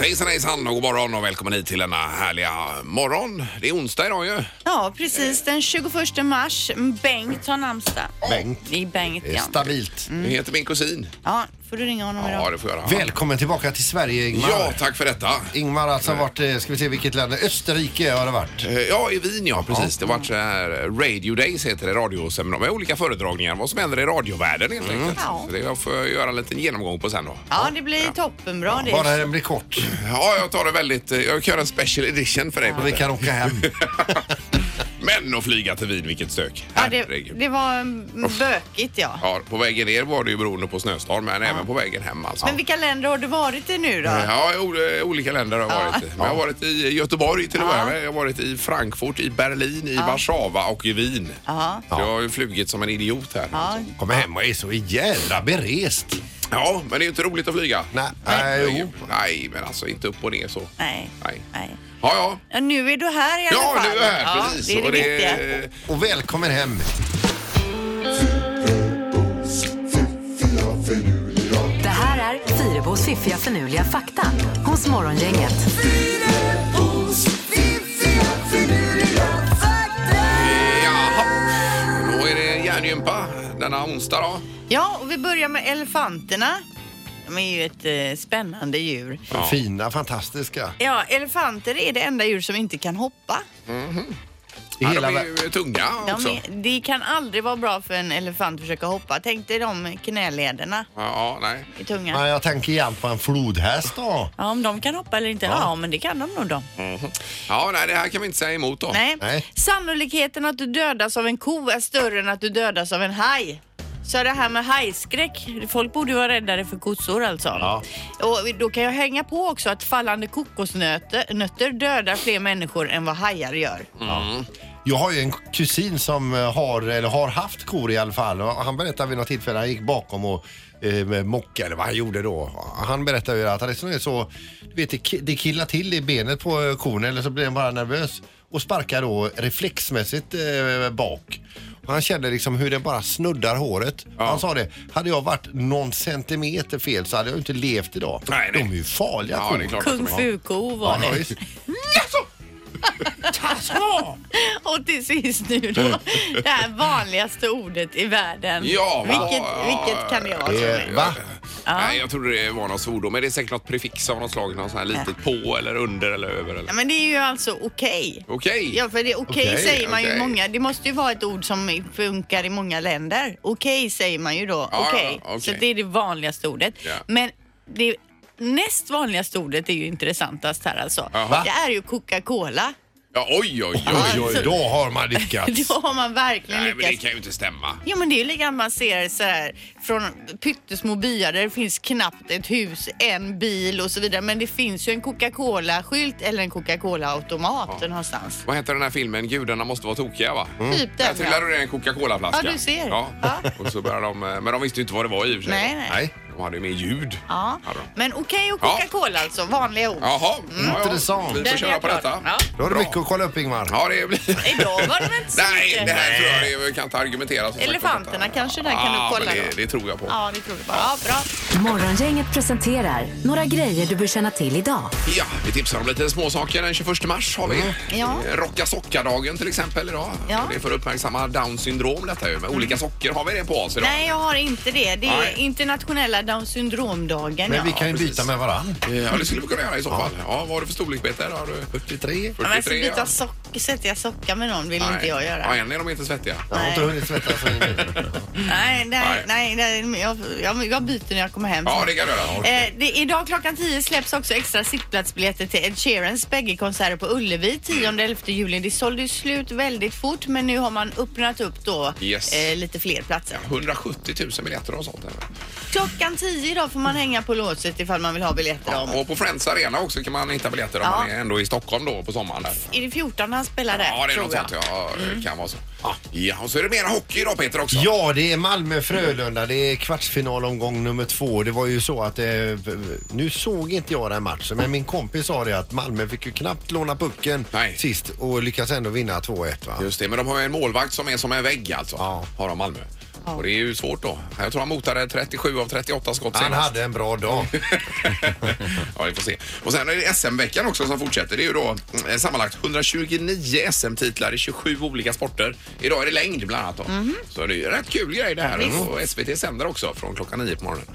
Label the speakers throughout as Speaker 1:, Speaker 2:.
Speaker 1: hejsan hejsan och god morgon och välkommen hit till denna härliga morgon. Det är onsdag idag
Speaker 2: Mm.
Speaker 1: ju.
Speaker 2: Ja, precis. Den 21 mars. Bengt har namnsdag.
Speaker 3: Bengt.
Speaker 2: Det är Bengt,
Speaker 3: Det är
Speaker 2: ja.
Speaker 3: Eh, stabilt.
Speaker 1: Det heter min kusin.
Speaker 2: Ja, får du ringa honom
Speaker 1: Ja,
Speaker 2: idag.
Speaker 1: det får jag göra.
Speaker 3: Välkommen tillbaka till Sverige Ingmar.
Speaker 1: Ja, tack för detta.
Speaker 3: Ingmar alltså har varit, eh, ska vi se vilket land, Österrike har det varit.
Speaker 1: Eh, Ja, i Wien ja, precis. Det var så här eh, Radio Days heter det, radioseminarium med olika föredragningar vad som händer i radiovärlden helt enkelt.
Speaker 2: Mm. Ja.
Speaker 1: Så det jag får göra en liten genomgång på sen då.
Speaker 2: Ja, det blir toppenbra det.
Speaker 3: Bara den blir kort
Speaker 1: Ja, jag tar det väldigt, eh, jag kör en special edition för dig.
Speaker 3: och vi kan åka hem.
Speaker 1: Men att flyga till Wien, vilket stök.
Speaker 2: Ja, det,
Speaker 1: Herregud.
Speaker 2: det var mm, bökigt, ja.
Speaker 1: Ja, på vägen ner var det ju beroende på snöstorm, men även på vägen hem alltså.
Speaker 2: Men vilka länder har du varit i nu då?
Speaker 1: Ja, i ol- olika länder har jag varit i. Men jag har varit i Göteborg till att börja med. Jag har varit i Frankfurt, i Berlin, i Warszawa och i Wien.
Speaker 2: Ja.
Speaker 1: Så Jag har ju flugit som en idiot här.
Speaker 2: Ja.
Speaker 3: Kommer hem och är så jävla berest.
Speaker 1: Ja, men det är ju inte roligt att flyga.
Speaker 3: Nej,
Speaker 1: Herregud.
Speaker 3: nej, jo.
Speaker 1: Nej, men alltså inte upp och ner så.
Speaker 2: Nej.
Speaker 1: Nej.
Speaker 2: Nej.
Speaker 1: Ja, ja.
Speaker 2: Ja, nu är du här i alla
Speaker 1: Ja,
Speaker 2: fall.
Speaker 1: nu är jag här.
Speaker 2: Ja,
Speaker 1: precis.
Speaker 2: det är det,
Speaker 1: Och
Speaker 2: viktiga.
Speaker 3: Och välkommen hem.
Speaker 4: Det här är Fyrabos fiffiga förnuliga fakta hos Morgongänget.
Speaker 1: Jaha. Då är det järngympa denna onsdag då.
Speaker 2: Ja, och vi börjar med elefanterna. De är ju ett eh, spännande djur.
Speaker 3: Fina, fantastiska.
Speaker 2: Ja, elefanter är det enda djur som inte kan hoppa.
Speaker 3: I
Speaker 1: Ja,
Speaker 3: hela
Speaker 1: de är
Speaker 3: världen.
Speaker 1: ju tunga
Speaker 2: De
Speaker 1: också.
Speaker 2: är, det kan aldrig vara bra för en elefant att försöka hoppa. Tänk dig de knälederna
Speaker 1: Ja, ja, nej.
Speaker 2: i tungan.
Speaker 3: Ja, jag tänker igen på en flodhäst då.
Speaker 2: Ja, om de kan hoppa eller inte? Ja, men det kan de nog då.
Speaker 1: Ja, nej, det här kan vi inte säga emot då.
Speaker 2: Nej.
Speaker 3: Nej.
Speaker 2: Sannolikheten att du dödas av en ko är större än att du dödas av en haj. Så det här med hajskräck, folk borde ju vara räddare för kossor alltså.
Speaker 3: Ja.
Speaker 2: Och då kan jag hänga på också att fallande kokosnötter nötter dödar fler människor än vad hajar gör.
Speaker 3: Jag har ju en kusin som eh, har, eller har haft kor i alla fall. Och Han berättade vid något tillfälle, han gick bakom och eh, med mocka eller vad han gjorde då. Han berättade ju att han liksom är så, du vet det ki- det killar till i benet på eh, kon eller så blir den bara nervös och sparkar då reflexmässigt eh, bak. Och han kände liksom hur den bara snuddar håret. Han sa det, hade jag varit någon centimeter fel så hade jag inte levt idag.
Speaker 1: Nej, nej.
Speaker 3: De är ju farliga
Speaker 1: Ja,
Speaker 3: kor.
Speaker 1: det är klart.
Speaker 2: Kung fu-ko var
Speaker 3: Ja,
Speaker 2: det.
Speaker 3: ja, visst.
Speaker 2: Och till sist nu då, det här vanligaste ordet i världen.
Speaker 1: Ja, va?
Speaker 2: vilket, vilket kan det vara?
Speaker 3: Det
Speaker 2: tror
Speaker 3: är-
Speaker 2: ni?
Speaker 3: Va?
Speaker 1: Nej, jag trodde det var något svordom. Men det är säkert något prefix av något slag. Något sånt här litet på eller under eller över. Eller.
Speaker 2: Ja, men det är ju alltså okej.
Speaker 1: Okej.
Speaker 2: Ja, för det okej
Speaker 3: Okej,
Speaker 2: säger man ju
Speaker 1: okej.
Speaker 2: i många. Det måste ju vara ett ord som funkar i många länder. Okej säger man ju då.
Speaker 1: Ja,
Speaker 2: okej.
Speaker 1: ja, okej.
Speaker 2: Så det är det vanligaste ordet.
Speaker 1: Ja.
Speaker 2: Men det näst vanligaste ordet är ju intressantast här alltså.
Speaker 1: Jaha.
Speaker 2: Det är ju Coca-Cola.
Speaker 1: Ja, oj, oj, oj.
Speaker 3: Oj, oj, då har man lyckats.
Speaker 2: Då har man verkligen
Speaker 1: Nej, men det
Speaker 2: lyckats.
Speaker 1: kan ju inte stämma.
Speaker 2: Jo men det är ju likadant man ser så här från pyttesmå byar där det finns knappt ett hus, en bil och så vidare. Men det finns ju en Coca-Cola-skylt eller en Coca-Cola-automat någonstans.
Speaker 1: Vad heter den här filmen? Gudarna måste vara tokiga, va?
Speaker 3: Mm.
Speaker 2: Typ
Speaker 1: Där
Speaker 2: den
Speaker 1: trillade det ner en Coca-Cola-flaska.
Speaker 2: Ja, du ser.
Speaker 1: Ja.
Speaker 2: Ja.
Speaker 1: Och så började de, eh, men de visste ju inte vad det var i och för sig.
Speaker 2: Nej, nej.
Speaker 3: Nej.
Speaker 1: De hade ju mer ljud.
Speaker 2: Ja,
Speaker 1: Hade de.
Speaker 2: men okej och
Speaker 1: Ja.
Speaker 2: Coca-Cola alltså, vanliga ord.
Speaker 1: Jaha. Ja, ja.
Speaker 3: Mm. Intressant.
Speaker 1: Vi
Speaker 2: Där
Speaker 1: får
Speaker 2: är
Speaker 1: köra
Speaker 2: jag
Speaker 1: på
Speaker 2: klar.
Speaker 1: detta.
Speaker 2: Ja.
Speaker 3: Då har du mycket att kolla upp Ingmar.
Speaker 1: Ja, det blir...
Speaker 2: Idag var det väl inte så
Speaker 1: Nej,
Speaker 2: mycket?
Speaker 1: det här tror jag det är- vi kan inte argumentera. som sagt för
Speaker 2: Elefanterna
Speaker 1: detta.
Speaker 2: kanske där kan
Speaker 1: Ja,
Speaker 2: du kolla
Speaker 1: men det,
Speaker 2: då.
Speaker 1: det tror jag på.
Speaker 2: Ja, det tror jag bara. Ja, bra.
Speaker 4: Morgongänget presenterar några grejer du bör känna till idag.
Speaker 1: Ja, vi tipsar om lite småsaker den 21 mars. har vi.
Speaker 2: Ja.
Speaker 1: Eh, Rocka sockardagen till exempel idag.
Speaker 2: Ja. Mm.
Speaker 1: Det är för att uppmärksamma Downs syndrom detta ju. Med olika socker har vi det på oss idag.
Speaker 2: Nej, jag har inte det. Det är
Speaker 1: Nej.
Speaker 2: internationella Down syndromdagen.
Speaker 3: Men vi
Speaker 2: ja.
Speaker 3: kan ju byta med varann.
Speaker 1: Ja, det skulle vi kunna göra i så fall. Ja, vad har du för storlek Peter? Har du
Speaker 3: 43.
Speaker 2: Ja, men så
Speaker 1: 43?
Speaker 2: byta socker, sätta jag socka med någon vill
Speaker 1: Nej.
Speaker 2: inte jag
Speaker 1: Ja,
Speaker 2: göra.
Speaker 1: än är de inte svettiga.
Speaker 3: Jag har inte
Speaker 2: Nej.
Speaker 3: hunnit svettas än.
Speaker 2: Nej, nej,
Speaker 1: Nej.
Speaker 2: nej, nej jag, jag, jag byter när jag kommer hem.
Speaker 1: Ja, det kan du göra.
Speaker 2: Eh, det, idag klockan 10 släpps också extra sittplatsbiljetter till Ed Sheerans bägge konserter på Ullevi 10-11 juli. Det sålde ju slut väldigt fort men nu har man öppnat upp då
Speaker 1: Yes.
Speaker 2: eh, lite fler platser.
Speaker 1: 170 000 biljetter och sånt. Eller?
Speaker 2: Klockan 10 idag får man hänga på låset ifall man vill ha biljetter om.
Speaker 1: Och på Friends Arena också kan man hitta biljetter om
Speaker 2: Ja.
Speaker 1: man är ändå i Stockholm då på sommaren. Där.
Speaker 2: Är det 14 han spelar där?
Speaker 1: Ja, det är
Speaker 2: tror
Speaker 1: något
Speaker 2: jag. Mm.
Speaker 1: sånt. Ja, det kan vara så. Ja, och så är det mera hockey idag Peter också.
Speaker 3: Ja, det är Malmö-Frölunda. Det är kvartsfinalomgång nummer två. Det var ju så att... Eh, nu såg inte jag den matchen, men min kompis sa det att Malmö fick ju knappt låna pucken
Speaker 1: Nej.
Speaker 3: sist och lyckas ändå vinna 2-1. Va?
Speaker 1: Just det, men de har ju en målvakt som är som en vägg alltså.
Speaker 3: Ja.
Speaker 1: Har de Malmö. Och det är ju svårt då. Jag tror han motade 37 av 38 skott
Speaker 3: Han
Speaker 1: senast.
Speaker 3: hade en bra dag.
Speaker 1: ja, vi får se. Och sen är det SM-veckan också som fortsätter. Det är ju då eh, sammanlagt 129 SM-titlar i 27 olika sporter. Idag är det längd bland annat då.
Speaker 3: Mhm.
Speaker 1: Så det är ju rätt kul grej det här. och SVT sänder också från klockan 9 på morgonen.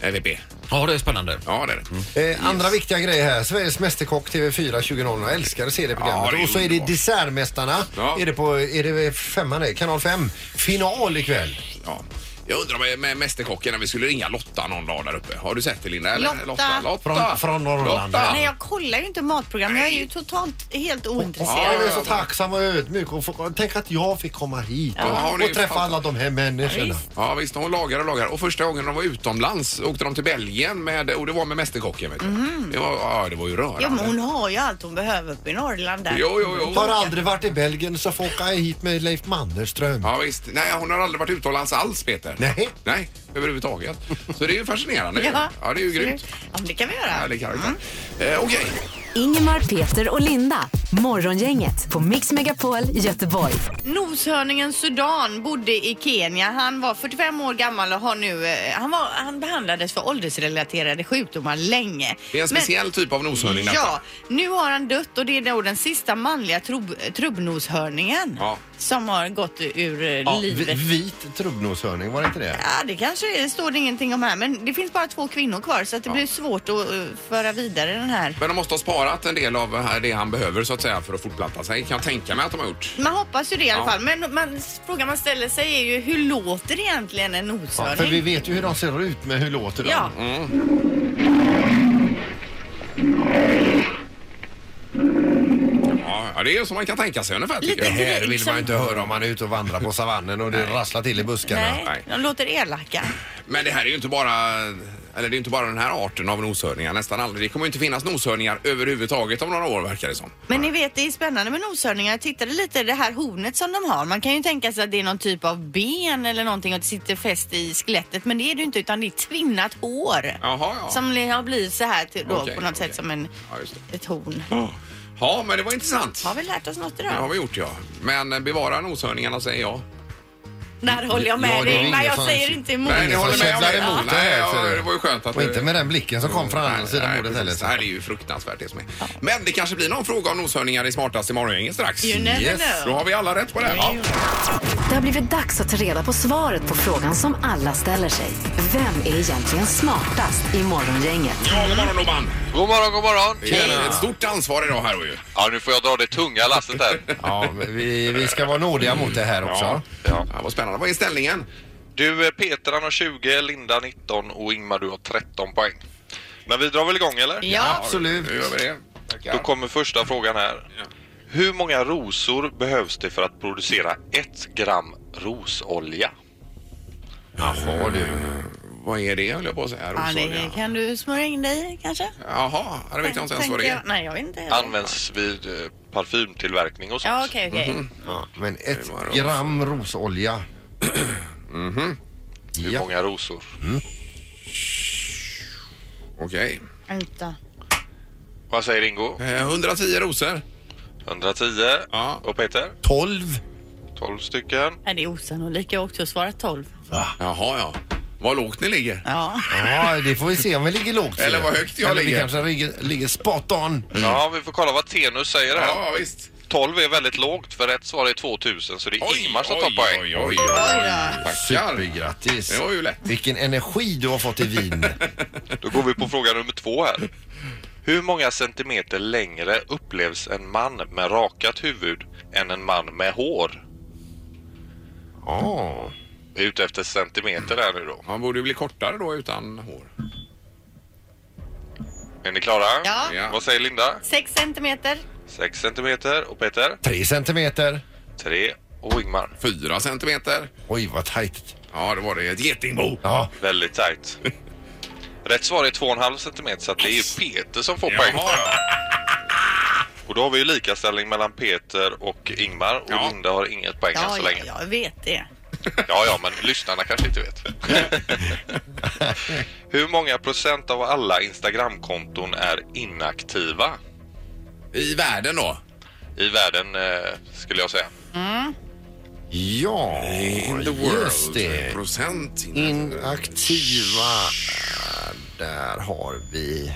Speaker 1: Eh, VP.
Speaker 5: Ja, det är spännande.
Speaker 1: Ja, det är det.
Speaker 3: Eh, andra viktiga grejer här. Sveriges Mästerkock TV4 2000. Jag älskar att se det programmet.
Speaker 1: Ja, det är
Speaker 3: och så är det
Speaker 1: underbart.
Speaker 3: Dessertmästarna.
Speaker 1: Ja.
Speaker 3: Är det på är det femman det? Kanal 5. Final ikväll.
Speaker 1: Ja. Jag undrar med, med Mästerkocken när vi skulle ringa Lotta någon dag där uppe. Har du sett det Linda? Eller?
Speaker 2: Lotta.
Speaker 1: Lotta. Lotta.
Speaker 3: Från- från Norrland.
Speaker 1: Lotta.
Speaker 2: Nej, jag kollar ju inte matprogram. Jag är ju totalt helt ointresserad.
Speaker 1: Ja,
Speaker 3: Jag är så
Speaker 1: ja,
Speaker 3: tacksam och ödmjuk. Och få, tänk att jag fick komma hit och,
Speaker 1: Ja, det är
Speaker 3: och träffa
Speaker 1: fantastiskt.
Speaker 3: alla de här människorna.
Speaker 2: Visst.
Speaker 1: Ja visst, hon lagar och lagar. Och första gången de var utomlands åkte de till Belgien med, och det var med Mästerkocken. Vet du. Det, var, ja, det var ju rörande.
Speaker 2: Mhm. Ja, men hon har ju allt hon behöver uppe i Norrland där.
Speaker 1: Jo, jo, jo.
Speaker 3: Har aldrig varit i Belgien så får åka hit med Leif Mannerström.
Speaker 1: Ja, visst. Nej, hon har aldrig varit utomlands alls, Peter.
Speaker 3: Nej.
Speaker 1: Nej, överhuvudtaget. Så det är ju fascinerande.
Speaker 2: Ja,
Speaker 1: ja det är ju grymt.
Speaker 2: absolut. Ja, men det kan vi göra. Mm.
Speaker 1: Härlig karaktär. Eh, Okej.
Speaker 4: Ingemar, Peter och Linda. Morgongänget på Mix Megapol Göteborg.
Speaker 2: Noshörningen Sudan bodde i Kenya. Han var 45 år gammal och har nu, eh, han, var, han behandlades för åldersrelaterade sjukdomar länge.
Speaker 1: Det är en
Speaker 2: Men-
Speaker 1: speciell typ av noshörning detta.
Speaker 2: Ja, nu har han dött och det är då den sista manliga trubb, trubbnoshörningen
Speaker 1: Ja.
Speaker 2: som har gått ur eh,
Speaker 3: Ja, vi-
Speaker 2: livet.
Speaker 3: vit trubbnoshörning, var det inte det?
Speaker 2: Ja, det kanske är- står det ingenting om här men det finns bara två kvinnor kvar så att det blir svårt att eh, föra vidare den här.
Speaker 1: Men de måste ha sparat en del av eh, det han behöver så att säga för att fortplanta sig. Kan jag tänka mig att de har gjort.
Speaker 2: Man hoppas ju det i alla
Speaker 1: Ja.
Speaker 2: fall men man, frågan man ställer sig är ju hur låter egentligen en
Speaker 3: Ja, för
Speaker 2: noshörning?
Speaker 3: vi vet ju hur de ser ut med hur låter de.
Speaker 1: Mm,
Speaker 2: Ja.
Speaker 1: Ja, ja, det är som man kan tänka sig ungefär. tycker
Speaker 2: Lite
Speaker 1: jag.
Speaker 3: Det här vill
Speaker 2: Liksom-
Speaker 3: man inte höra om man är ute och vandrar på savannen och det rasslar till i buskarna.
Speaker 2: Nej,
Speaker 1: Nej.
Speaker 2: de låter elaka.
Speaker 1: Men det här är ju inte bara eller det är inte bara den här arten av noshörningar, nästan aldrig. Det kommer ju inte finnas noshörningar överhuvudtaget om några år verkar det som.
Speaker 2: Men ni vet, det är spännande med noshörningar. Jag tittade lite det här hornet som de har. Man kan ju tänka sig att det är någon typ av ben eller någonting och det sitter fäst i skelettet. Men det är det ju inte utan det är tvinnat hår.
Speaker 1: Jaha, ja.
Speaker 2: Som li- har blivit så här till, då,
Speaker 1: Okej,
Speaker 2: på något
Speaker 1: okej.
Speaker 2: sätt som en,
Speaker 1: Ja, just det.
Speaker 2: ett horn.
Speaker 1: Ja, men det var intressant.
Speaker 2: Har vi lärt oss något idag?
Speaker 1: Det har vi gjort ja. Men eh, bevara noshörningarna säger jag.
Speaker 3: Mm.
Speaker 2: Där håller jag med
Speaker 3: Ja, det är
Speaker 2: dig Ingmar.
Speaker 3: ingen
Speaker 2: Jag
Speaker 3: som-
Speaker 2: säger inte emot.
Speaker 1: Nej, ni
Speaker 3: som
Speaker 1: håller med om
Speaker 3: käbblar
Speaker 1: det.
Speaker 3: emot det
Speaker 1: Nej,
Speaker 3: här,
Speaker 1: ja,
Speaker 3: ser du.
Speaker 1: det var ju skönt att
Speaker 3: Och
Speaker 1: det-
Speaker 3: inte med den blicken som kom från andra
Speaker 1: Nej,
Speaker 3: sidan
Speaker 1: nej,
Speaker 3: bordet
Speaker 1: precis. Det
Speaker 3: heller.
Speaker 1: här är ju fruktansvärt det som är. Men det kanske blir någon fråga om noshörningar i smartaste morgongänget strax.
Speaker 2: You never
Speaker 3: Yes.
Speaker 1: Då
Speaker 2: know.
Speaker 1: har vi alla rätt på det. här. Ja.
Speaker 4: Det har blivit dags att ta reda på svaret på frågan som alla ställer sig. Vem är egentligen smartast i morgongänget?
Speaker 1: Ja, god morgon Robban.
Speaker 6: God morgon, god morgon.
Speaker 1: Det är ett stort ansvar idag här ju.
Speaker 6: Ja, nu får jag dra det tunga lasset här.
Speaker 3: Ja, men vi, vi ska vara nådiga mot det här också.
Speaker 1: Ja. Ja, vad spännande. Vad är ställningen?
Speaker 6: Du, eh, Peter han har 20, Linda 19 och Ingmar du har 13 poäng. Men vi drar väl igång eller?
Speaker 2: Ja,
Speaker 3: Absolut.
Speaker 1: Nu gör vi det.
Speaker 6: Då kommer första frågan här.
Speaker 1: Ja.
Speaker 6: Hur många rosor behövs det för att producera ett gram rosolja?
Speaker 1: Jaha du. Vad är det höll jag på att säga.
Speaker 2: ja
Speaker 1: Rosolja.
Speaker 2: det kan du smörja in dig i kanske?
Speaker 1: Jaha, det vet jag inte ens vad det
Speaker 2: Äh, Tänker
Speaker 1: är.
Speaker 2: jag- Nej, jag vet inte heller.
Speaker 6: Används vid eh, parfymtillverkning och sånt.
Speaker 2: Ja, okej, okej.
Speaker 3: Ja, men ett
Speaker 1: var ros.
Speaker 3: gram rosolja.
Speaker 6: Hur
Speaker 3: Ja.
Speaker 6: många rosor?
Speaker 1: Okej.
Speaker 2: Vänta.
Speaker 6: Vad säger Ingo?
Speaker 1: Eh, 110 rosor.
Speaker 6: 110.
Speaker 1: Ja. Mm.
Speaker 6: Och Peter?
Speaker 3: 12.
Speaker 6: 12 stycken.
Speaker 2: Nej, det är osannolikt. Jag åkte och svarade 12.
Speaker 1: Jaha, ja. Vad lågt ni ligger.
Speaker 2: Ja.
Speaker 3: Ja, det får vi se om vi ligger lågt.
Speaker 1: Eller vad högt jag
Speaker 3: Eller vi
Speaker 1: ligger.
Speaker 3: kanske ligger, ligger spot on.
Speaker 6: Ja, vi får kolla vad Tenus säger här.
Speaker 1: Ja, visst.
Speaker 6: 12 är väldigt lågt för rätt svar är 2000 så det är Ingmar som tar
Speaker 1: oj,
Speaker 6: poäng.
Speaker 1: oj, oj, oj. Tackar.
Speaker 3: Supergrattis.
Speaker 1: Det var ju lätt.
Speaker 3: Vilken energi du har fått i Wien.
Speaker 6: Då går vi på fråga nummer två här. Hur många centimeter längre upplevs en man med rakat huvud än en man med hår?
Speaker 3: Ja.
Speaker 6: Vi är ute efter centimeter här nu då.
Speaker 1: Man borde ju bli kortare då utan hår.
Speaker 6: Är ni klara?
Speaker 2: Ja.
Speaker 1: Ja.
Speaker 6: Vad säger Linda?
Speaker 2: 6 centimeter.
Speaker 6: 6 centimeter och Peter?
Speaker 3: Tre centimeter.
Speaker 6: 3 och Ingmar.
Speaker 1: Fyra centimeter.
Speaker 3: Oj, vad tajt.
Speaker 1: Ja, det var det. Ett getingbo.
Speaker 3: Ja,
Speaker 6: Väldigt tajt. Rätt svar är 2,5 centimeter så att det är ju Peter som får poäng. Och då har vi ju likaställning mellan Peter och Ingmar och
Speaker 1: Ja.
Speaker 6: Linda har inget poäng än
Speaker 2: Ja,
Speaker 6: så
Speaker 2: ja,
Speaker 6: länge.
Speaker 2: jag vet det.
Speaker 6: Ja, ja, men lyssnarna kanske inte vet. Hur många procent av alla Instagramkonton är inaktiva
Speaker 1: I världen då?
Speaker 6: i världen, eh, skulle jag säga?
Speaker 3: Ja,
Speaker 1: In the world.
Speaker 3: just det.
Speaker 1: Procent.
Speaker 3: Inaktiva. Där har vi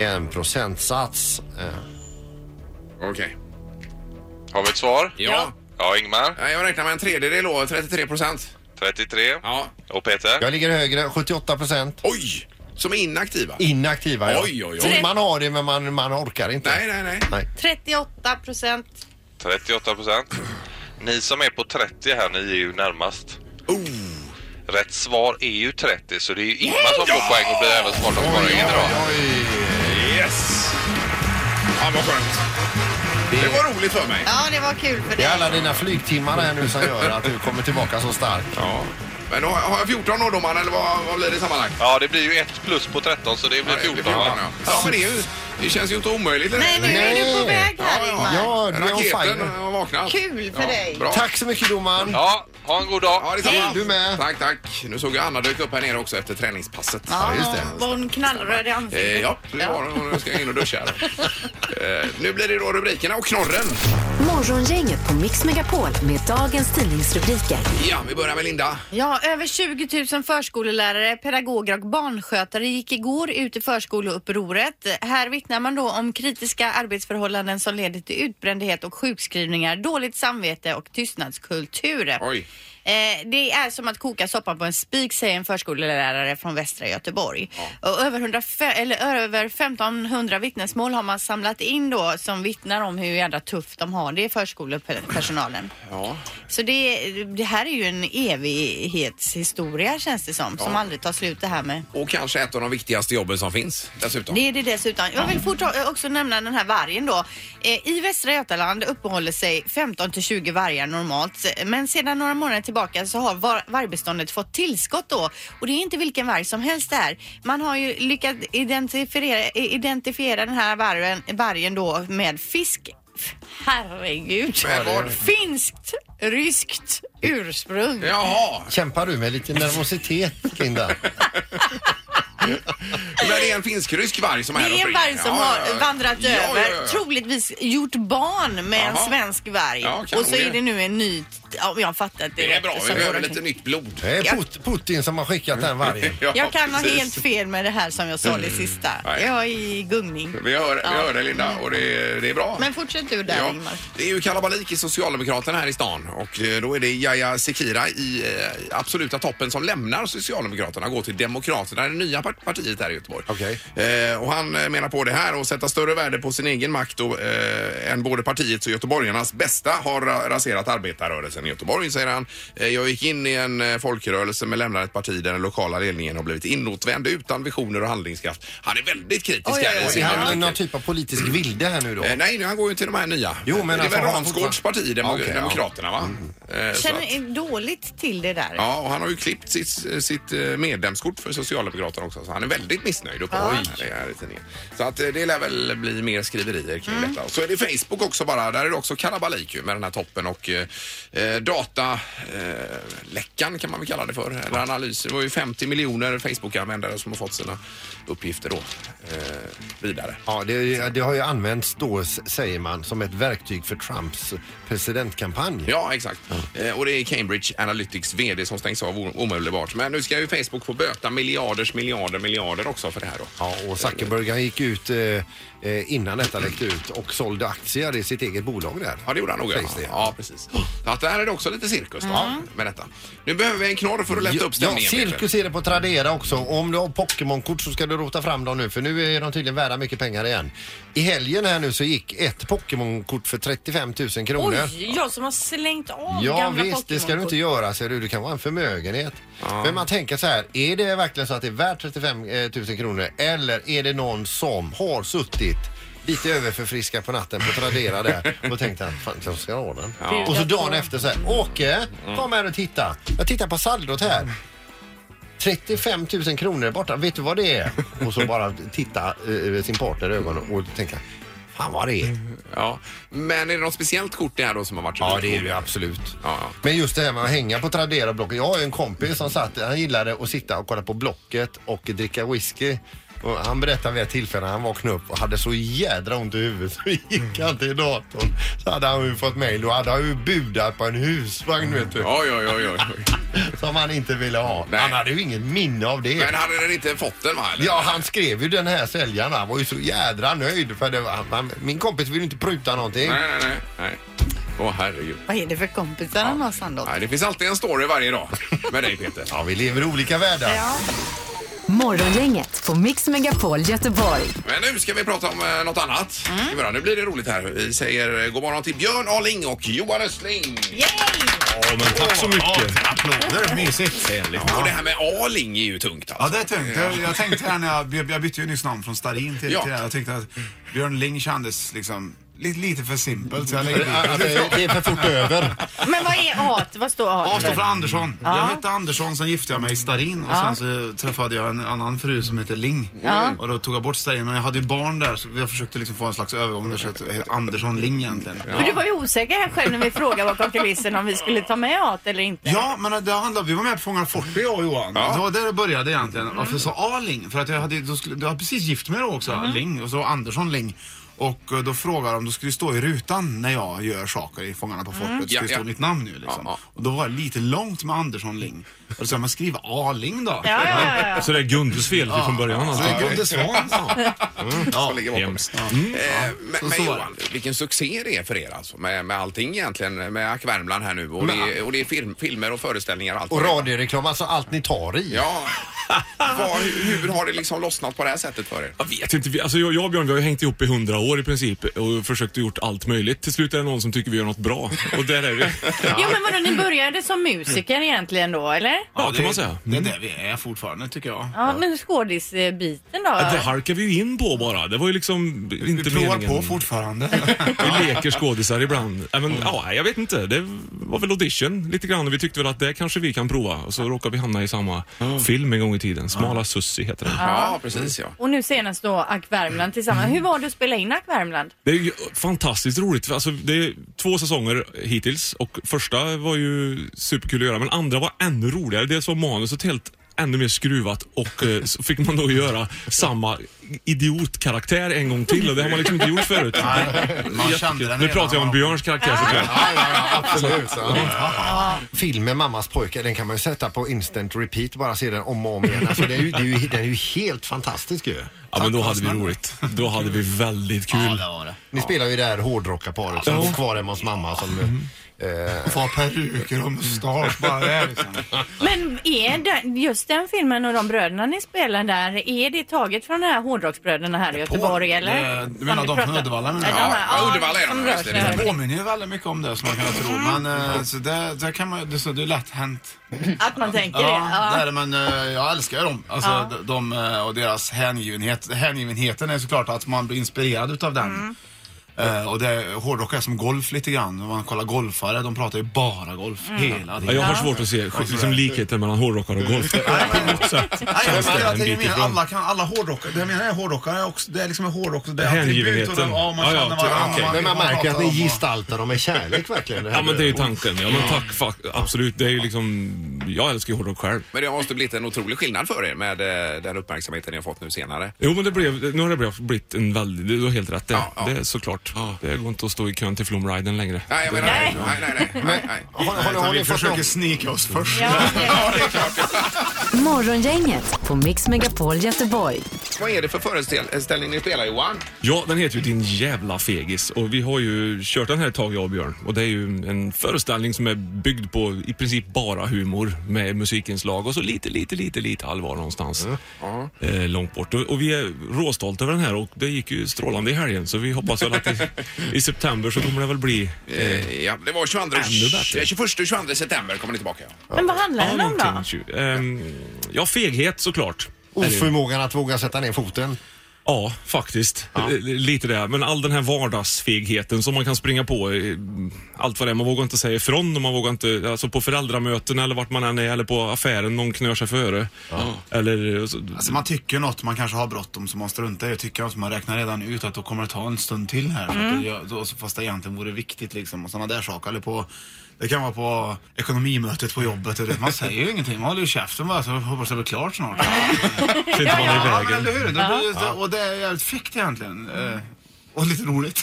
Speaker 3: en procentsats. Eh,
Speaker 1: Okej.
Speaker 6: Har vi ett svar?
Speaker 1: Ja.
Speaker 6: Ja, Ingmar.
Speaker 1: Nej, Jag räknar med en tredjedel då, 33 procent.
Speaker 6: 33.
Speaker 1: Ja.
Speaker 6: Och Peter?
Speaker 3: Jag ligger högre, 78 procent.
Speaker 1: Oj! Som är inaktiva?
Speaker 3: Inaktiva. ja.
Speaker 1: Oj, oj, oj.
Speaker 3: Man har det men man, man orkar inte.
Speaker 1: Nej, nej, nej.
Speaker 2: 38 procent.
Speaker 6: 38 procent. Ni som är på 30 här, ni är ju närmast.
Speaker 1: Oh.
Speaker 6: Rätt svar är ju 30 så det är ju Ingmar som får poäng och blir även smartast på poängen idag.
Speaker 1: Yes! Ja, vad skönt. Det var roligt för mig.
Speaker 2: Ja, det var kul för
Speaker 3: Det är
Speaker 2: dig.
Speaker 3: alla dina flygtimmar här nu som gör att du kommer tillbaka så stark.
Speaker 1: Ja. Men har- har jag 14 årdomar eller vad, vad blir det sammanlagt?
Speaker 6: Ja, det blir ju ett plus på 13 så det blir
Speaker 1: Ja, det blir
Speaker 6: 14. va?
Speaker 1: ja. ja, men det, är ju, det känns ju inte omöjligt. eller?
Speaker 2: Nej, nu är du på
Speaker 3: Nej.
Speaker 2: väg här
Speaker 1: Ja,
Speaker 2: Ingmar.
Speaker 3: Ja, du är on
Speaker 1: Raketen
Speaker 3: fire.
Speaker 1: har vaknat.
Speaker 2: Kul för
Speaker 1: ja,
Speaker 2: dig.
Speaker 1: Bra.
Speaker 3: Tack så mycket domaren.
Speaker 6: Ja, ha en god dag.
Speaker 1: Ja, detsamma.
Speaker 3: Du med.
Speaker 1: Tack, tack. Nu såg jag Anna dök upp här nere också efter träningspasset.
Speaker 2: Ja,
Speaker 3: just det.
Speaker 2: Var hon knallröd i
Speaker 1: Eh,
Speaker 2: ansiktet?
Speaker 1: ja, det var hon. Nu ska jag in och duscha här. eh, Nu blir det då rubrikerna och knorren.
Speaker 4: Morgongänget på Mix Megapol med dagens tidningsrubriker.
Speaker 1: Ja, vi börjar med Linda.
Speaker 2: Ja, över 20 000 förskolelärare, pedagoger och barnskötare gick igår ut i förskoleupproret. Här vittnar man då om kritiska arbetsförhållanden som leder till utbrändhet och sjukskrivningar, dåligt samvete och tystnadskultur.
Speaker 1: Oj.
Speaker 2: Eh, Det är som att koka soppan på en spik säger en förskolelärare från Västra Göteborg. Och över, 100, eller över 1500 vittnesmål har man samlat in då som vittnar om hur jädra tufft de har det, förskolepersonalen.
Speaker 1: Ja.
Speaker 2: Så det, det här är ju en evighetshistoria känns det som, som aldrig tar slut det här med.
Speaker 1: Och kanske ett av de viktigaste jobben som finns dessutom.
Speaker 2: Det är det dessutom. Jag vill fort också nämna den här vargen då. Eh, I Västra Götaland uppehåller sig 15 till 20 vargar normalt. Men sedan några månader tillbaka så har var- vargbeståndet fått tillskott då. Och det är inte vilken varg som helst där. Man har ju lyckats identifiera, identifiera den här vargen, vargen då med fisk. Herregud.
Speaker 1: Med vad?
Speaker 2: Finskt, ryskt ursprung.
Speaker 1: Jaha,
Speaker 3: Kämpar du med lite nervositet Linda?
Speaker 1: men det är en finsk-rysk varg som är här
Speaker 2: Det
Speaker 1: och
Speaker 2: är en
Speaker 1: springer.
Speaker 2: varg som
Speaker 1: Ja,
Speaker 2: har
Speaker 1: ja, ja.
Speaker 2: vandrat
Speaker 1: Ja, ja,
Speaker 2: över,
Speaker 1: ja.
Speaker 2: troligtvis gjort barn med en
Speaker 1: Jaha.
Speaker 2: svensk varg.
Speaker 1: Ja, kan
Speaker 2: och så
Speaker 1: det.
Speaker 2: är det nu en ny... Ja, jag fattar att det,
Speaker 1: Det är bra, vi
Speaker 2: som går
Speaker 1: behöver
Speaker 2: omkring.
Speaker 1: lite nytt blod.
Speaker 3: Det är
Speaker 2: Ja.
Speaker 3: Put- Putin som har skickat den vargen.
Speaker 1: Ja,
Speaker 2: Jag kan ha
Speaker 1: precis. Mm.
Speaker 2: helt fel med det här som jag sa det sista.
Speaker 1: Nej.
Speaker 2: Jag är i gungning.
Speaker 1: Vi hör, vi
Speaker 2: Ja.
Speaker 1: hör det Linda och det, är- det är bra.
Speaker 2: Men fortsätt du där
Speaker 1: Ja,
Speaker 2: Ingmar.
Speaker 1: det är ju kalabalik i Socialdemokraterna här i stan och eh, då är det Yahya Sekira i eh, absoluta toppen som lämnar Socialdemokraterna och går till Demokraterna, det nya part- partiet här i Göteborg.
Speaker 3: Okej.
Speaker 1: Eh, och han eh, menar på det här och sätta större värde på sin egen makt och, eh, än både partiets och göteborgarnas bästa har ra- raserat arbetarrörelsen i Göteborg, säger han. Eh, jag gick in i en eh, folkrörelse men lämnade ett parti där den lokala ledningen har blivit inåtvänd utan visioner och handlingskraft. Han är väldigt kritisk
Speaker 2: Oj,
Speaker 1: här
Speaker 2: oj,
Speaker 1: i
Speaker 2: oj.
Speaker 1: sin
Speaker 3: Är han
Speaker 1: artikel.
Speaker 3: någon typ av politisk vilde här nu då?
Speaker 1: Eh, nej, nu, han går ju till de här nya.
Speaker 3: Jo, men
Speaker 1: det är
Speaker 3: alltså,
Speaker 1: väl
Speaker 3: har han
Speaker 1: Ransgårds parti, Demo-
Speaker 3: Okej, ja. Mm.
Speaker 1: Demokraterna, va? Eh, så att,
Speaker 2: Känner dåligt till det där.
Speaker 1: ja, och han har ju klippt sitt, sitt eh, medlemskort för Socialdemokraterna också, så han är väldigt missnöjd uppe på det här i tidningen. Så att eh, det lär väl bli mer skriverier kring detta. Och så är det Facebook också bara, där är det också kalabalik ju med den här toppen och eh, dataläckan kan man väl kalla det för, eller analyser. Det var ju 50 miljoner Facebook-användare som har fått sina uppgifter då eh, vidare.
Speaker 3: Ja, det, det har ju använts då, s- säger man, som ett verktyg för Trumps presidentkampanj.
Speaker 1: Ja, exakt. Eh, och det är Cambridge Analytics VD som stängs av o- omedelbart. Men nu ska ju Facebook få böta miljarders miljarder miljarder också för det här då. Eh,
Speaker 3: Ja, och Zuckerberg han gick ut eh, eh, innan detta läckte ut och sålde aktier i sitt eget bolag där.
Speaker 1: Ja, det gjorde han nog. Ja,
Speaker 3: Sägs det.
Speaker 1: ja precis. Så att det här är det också lite cirkus då, med detta. Nu behöver vi en knorr för att lätta upp
Speaker 3: Ja,
Speaker 1: stämningen. Peter.
Speaker 3: cirkus är det på Tradera också. Om du har Pokémon-kort så ska du rota fram dem nu för nu är de tydligen värda mycket pengar igen. I helgen här nu så gick ett Pokémon-kort för 35 000 kronor.
Speaker 5: Oj, jag som har slängt av
Speaker 3: Ja
Speaker 5: gamla
Speaker 3: visst, det ska du inte göra ser du. Det kan vara en förmögenhet. Men man tänker så här, är det verkligen så att det är värt 35 000 kronor eller är det någon som har suttit lite överförfriskad på natten på Tradera där och tänkt att fan jag ska ha den. Och så dagen efter så här, Åke kom här och titta. Jag tittar på saldot här. 35 000 kronor borta, vet du vad det är? Och så bara titta eh, sin partner i ögonen och tänka, fan vad det är.
Speaker 1: Ja. Men är det något speciellt kort det här då som har varit så
Speaker 3: Ja,
Speaker 1: bra?
Speaker 3: det är det ju absolut.
Speaker 1: Ja, ja.
Speaker 3: Men just det här med att hänga på Tradera och Blocket. Jag har ju en kompis som satt, han gillade att sitta och kolla på Blocket och dricka whisky Och han berättade vid ett tillfälle när han vaknade upp och hade så jädra ont i huvudet så gick han till datorn. Så hade han ju fått mejl. Då hade han ju budat på en husvagn vet du.
Speaker 1: Oj, oj, oj, oj.
Speaker 3: Som han inte ville ha.
Speaker 1: Nej.
Speaker 3: Han hade ju inget minne av det.
Speaker 1: Men hade den inte fått den va? eller?
Speaker 3: Ja, han skrev ju den här säljaren. Han var ju så jädra nöjd. För det var, han, min kompis ville inte pruta någonting.
Speaker 1: Nej, nej, nej, nej. Åh herregud.
Speaker 2: Vad är det för kompisar han har Sandholt?
Speaker 1: Nej, det finns alltid en story varje dag med dig Peter.
Speaker 3: Ja, vi lever i olika världar.
Speaker 2: Ja.
Speaker 4: Morgongänget på Mix Megapol Göteborg.
Speaker 1: Men nu ska vi prata om eh, något annat. Mm. Nu blir det roligt här. Vi säger eh, god morgon till Björn Arling och Johan Östling.
Speaker 7: Ja, men tack så mycket.
Speaker 3: Applåder.
Speaker 7: Mysigt.
Speaker 1: Och det här med Arling är ju tungt
Speaker 8: Ja,
Speaker 1: alltså.
Speaker 8: det är tungt. Jag, jag tänkte här när jag, jag bytte ju nyss namn från Starin till,
Speaker 1: Ja.
Speaker 8: till det här. Jag tyckte att Björn Ling kändes liksom lite, lite för simpelt. Så jag lägger
Speaker 3: Att
Speaker 8: dit.
Speaker 3: Det det är för fort över.
Speaker 2: Men vad är hat? Vad står hat
Speaker 8: Avstå
Speaker 2: för?
Speaker 8: från Andersson. Jag hette Andersson, sen gifte jag mig i Starin och sen så träffade jag en annan fru som heter Ling. Och då tog jag bort Starin, men jag hade ju barn där så jag försökte liksom få en slags övergång. där, Så jag hette Andersson Ling egentligen.
Speaker 2: För du var ju osäker här själv när vi frågade bakom kulissen om vi skulle ta med hat eller inte.
Speaker 8: Ja, men det handlade, vi var med på Fångarna Forte jag och Johan. Det var där det började egentligen. Varför jag sa Arling? För att jag hade, då skulle, jag hade precis gift mig då också, Ling, och så Andersson Ling. Och eh, då frågade de, då skulle det stå i rutan när jag gör saker i Fångarna på fortet, skulle
Speaker 1: Ja,
Speaker 8: det stå
Speaker 1: ja.
Speaker 8: mitt namn nu liksom.
Speaker 1: Ja,
Speaker 8: Och då var det lite långt med Andersson Ling. Och då sa jag, men skriv Arling då.
Speaker 2: Ja, ja, ja, ja.
Speaker 7: Så det är Gundes fel från början
Speaker 8: Så
Speaker 7: alltså.
Speaker 8: det är Gunde Svan.
Speaker 1: Ja, ligger bakom.
Speaker 7: Hemskt.
Speaker 1: Eh, men,
Speaker 8: Så-
Speaker 1: men
Speaker 8: så var
Speaker 1: Johan, vilken succé det är för er alltså. Med, med allting egentligen. Med Ack Värmland här nu. Och, det, är- och det är film, filmer och föreställningar och allt.
Speaker 3: Och radioreklam, alltså allt ni tar i.
Speaker 1: Ja. Vad, hur, hur har det liksom lossnat på det här sättet för er?
Speaker 7: Jag vet inte. vi- Alltså jag, jag och Björn vi har ju hängt ihop i hundra år i princip och försökt gjort allt möjligt. Till slut är det någon som tycker vi gör något bra och där är vi.
Speaker 2: Jo men vadå, ni började som musiker egentligen då eller?
Speaker 7: Ja, kan man säga.
Speaker 8: Det är där vi är fortfarande tycker jag.
Speaker 2: Ja, men skådisbiten då?
Speaker 7: Det halkar vi ju in på bara. Det var ju liksom
Speaker 8: Vi
Speaker 7: inte
Speaker 8: provar på
Speaker 7: meningen.
Speaker 8: fortfarande.
Speaker 7: Vi leker skådisar ibland. Ja,
Speaker 8: Mm.
Speaker 7: Men, ja, jag vet inte. Det var väl audition lite grann och vi tyckte väl att det kanske vi kan prova. Och så råkade vi hamna i samma film en gång i tiden. Smala Sussi heter den.
Speaker 1: Ja, precis ja.
Speaker 2: Och nu senast då Ack Värmland tillsammans. Hur var det att spela in Ack Värmland?
Speaker 7: Det är ju fantastiskt roligt. för Alltså, det är två säsonger hittills och första var ju superkul att göra men andra var ännu roligare. Dels var manuset helt ännu mer skruvat och eh, så fick man då göra samma idiotkaraktär en gång till och det har man liksom inte gjort förut.
Speaker 8: Man kände den
Speaker 7: Nu
Speaker 8: redan.
Speaker 7: pratar jag om Björns karaktär såklart.
Speaker 3: Ja, ja, ja, absolut. Ja. Filmen Mammas pojkar, den kan man ju sätta på instant repeat, bara se den om och om igen. Alltså, det är ju, det är ju, den är ju helt fantastisk ju.
Speaker 7: Ja men då hade vi roligt. Då hade vi väldigt kul.
Speaker 8: Ja, det var det.
Speaker 3: Ni spelar ju det här hårdrockarparet som
Speaker 7: Ja.
Speaker 3: bor kvar hemma hos mamma som... Eh,
Speaker 8: Få peruker och mustasch bara det liksom.
Speaker 2: Men är det, just den filmen och de bröderna ni spelar där, är det taget från de här hårdrocksbröderna här i Göteborg eller?
Speaker 8: Eh, du menar de från Uddevalla nu?
Speaker 2: Ja,
Speaker 1: Ja,
Speaker 2: de här, ja,
Speaker 1: Uddevalla är de,
Speaker 2: som
Speaker 1: just
Speaker 2: rör
Speaker 1: det.
Speaker 2: sig här.
Speaker 8: Det påminner ju väldigt mycket om det som man kan tro.
Speaker 2: Mm.
Speaker 8: Men eh, så det, det kan man det, är så det är lätt hänt.
Speaker 2: Att man tänker
Speaker 8: Ja,
Speaker 2: det.
Speaker 8: det är
Speaker 2: Ja.
Speaker 8: det, men eh, jag älskar ju dem. Alltså de, de eh, och deras hängivenhet. Hängivenheten är såklart att man blir inspirerad utav den.
Speaker 2: Mm.
Speaker 8: Eh, och det, hårdrock är som golf lite grann. Om man kollar golfare, de pratar ju bara golf
Speaker 2: Mm.
Speaker 8: hela
Speaker 7: Ja,
Speaker 8: tiden.
Speaker 7: jag har svårt att se liksom, likheten mellan hårdrockare och golf. På något sätt
Speaker 8: Nej, jag
Speaker 7: känns
Speaker 8: menar,
Speaker 7: det
Speaker 8: jag
Speaker 7: en
Speaker 8: tänker
Speaker 7: bit
Speaker 8: mer
Speaker 7: ifrån.
Speaker 8: alla, kan, alla hårdrockare, det jag menar är hårdrockare är också, det är liksom en hårdrock det är
Speaker 7: Hängivenheten.
Speaker 8: attribut och de- Ja, man
Speaker 7: Ja, ja,
Speaker 8: känner
Speaker 7: okej.
Speaker 8: varandra.
Speaker 3: men man märker ju att ni
Speaker 8: pratar om-
Speaker 3: gestaltar dem med kärlek verkligen. här
Speaker 7: Ja men det är ju
Speaker 3: gör.
Speaker 7: tanken. Ja men tack, fuck, absolut. Det är ju liksom, jag älskar ju hårdrock själv.
Speaker 1: Men det måste blivit en otrolig skillnad för er med eh, den uppmärksamheten ni har fått nu senare.
Speaker 7: Jo men det blev, nu har det blivit- blivit en väldigt, du har helt rätt det.
Speaker 1: Ja, ja.
Speaker 7: Det är såklart. Det går inte att stå i kön till Flumriden längre.
Speaker 1: Nej, jag menar, nej, nej, nej. nej, nej, nej.
Speaker 3: Har, har,
Speaker 8: Nej,
Speaker 3: ni-
Speaker 8: utan
Speaker 3: har
Speaker 8: vi
Speaker 3: ni fått någon...
Speaker 8: försöker snika oss först.
Speaker 2: Ja, det-
Speaker 4: Morgongänget på Mix Megapol Göteborg.
Speaker 1: Vad är det för föreställning ni spelar Johan?
Speaker 7: Ja, den heter ju Din jävla fegis och vi har ju kört den här ett tag jag och Björn. Och det är ju en föreställning som är byggd på i princip bara humor med musikinslag och så lite, lite, lite, lite allvar någonstans. Eh, långt bort. Och, och vi är råstolta över den här och det gick ju strålande i helgen så vi hoppas väl att i, i september så kommer det väl bli
Speaker 1: Eh, ja, det var 22,
Speaker 7: Ännu bättre.
Speaker 1: 21 och 22 september kommer ni tillbaka. Ja.
Speaker 2: Men vad handlar den om då?
Speaker 7: någonting. Ehm, ja, feghet såklart.
Speaker 3: Oförmågan att våga sätta ner foten.
Speaker 7: Ja, faktiskt. Eh, Lite det. Men all den här vardagsfegheten som man kan springa på. eh, Allt vad det är. Man vågar inte säga ifrån och man vågar inte... Alltså på föräldramöten eller vart man än är eller på affären någon knör sig före. Eller... eh, så-
Speaker 8: Alltså man tycker något man kanske har bråttom som man struntar i och tycker något som man räknar redan ut att då kommer det ta en stund till här. Mm. Fast det egentligen vore viktigt liksom och sådana där saker. Eller på Det kan vara på ekonomimötet på jobbet. och det- Man säger ju ingenting. Man håller ju käften bara så hoppas det blir klart snart.
Speaker 7: Så inte man är i
Speaker 8: Ja, men
Speaker 7: vägen.
Speaker 8: eller hur? Det blir ju så- Och det är jävligt fräckt egentligen. Eh, Och lite roligt.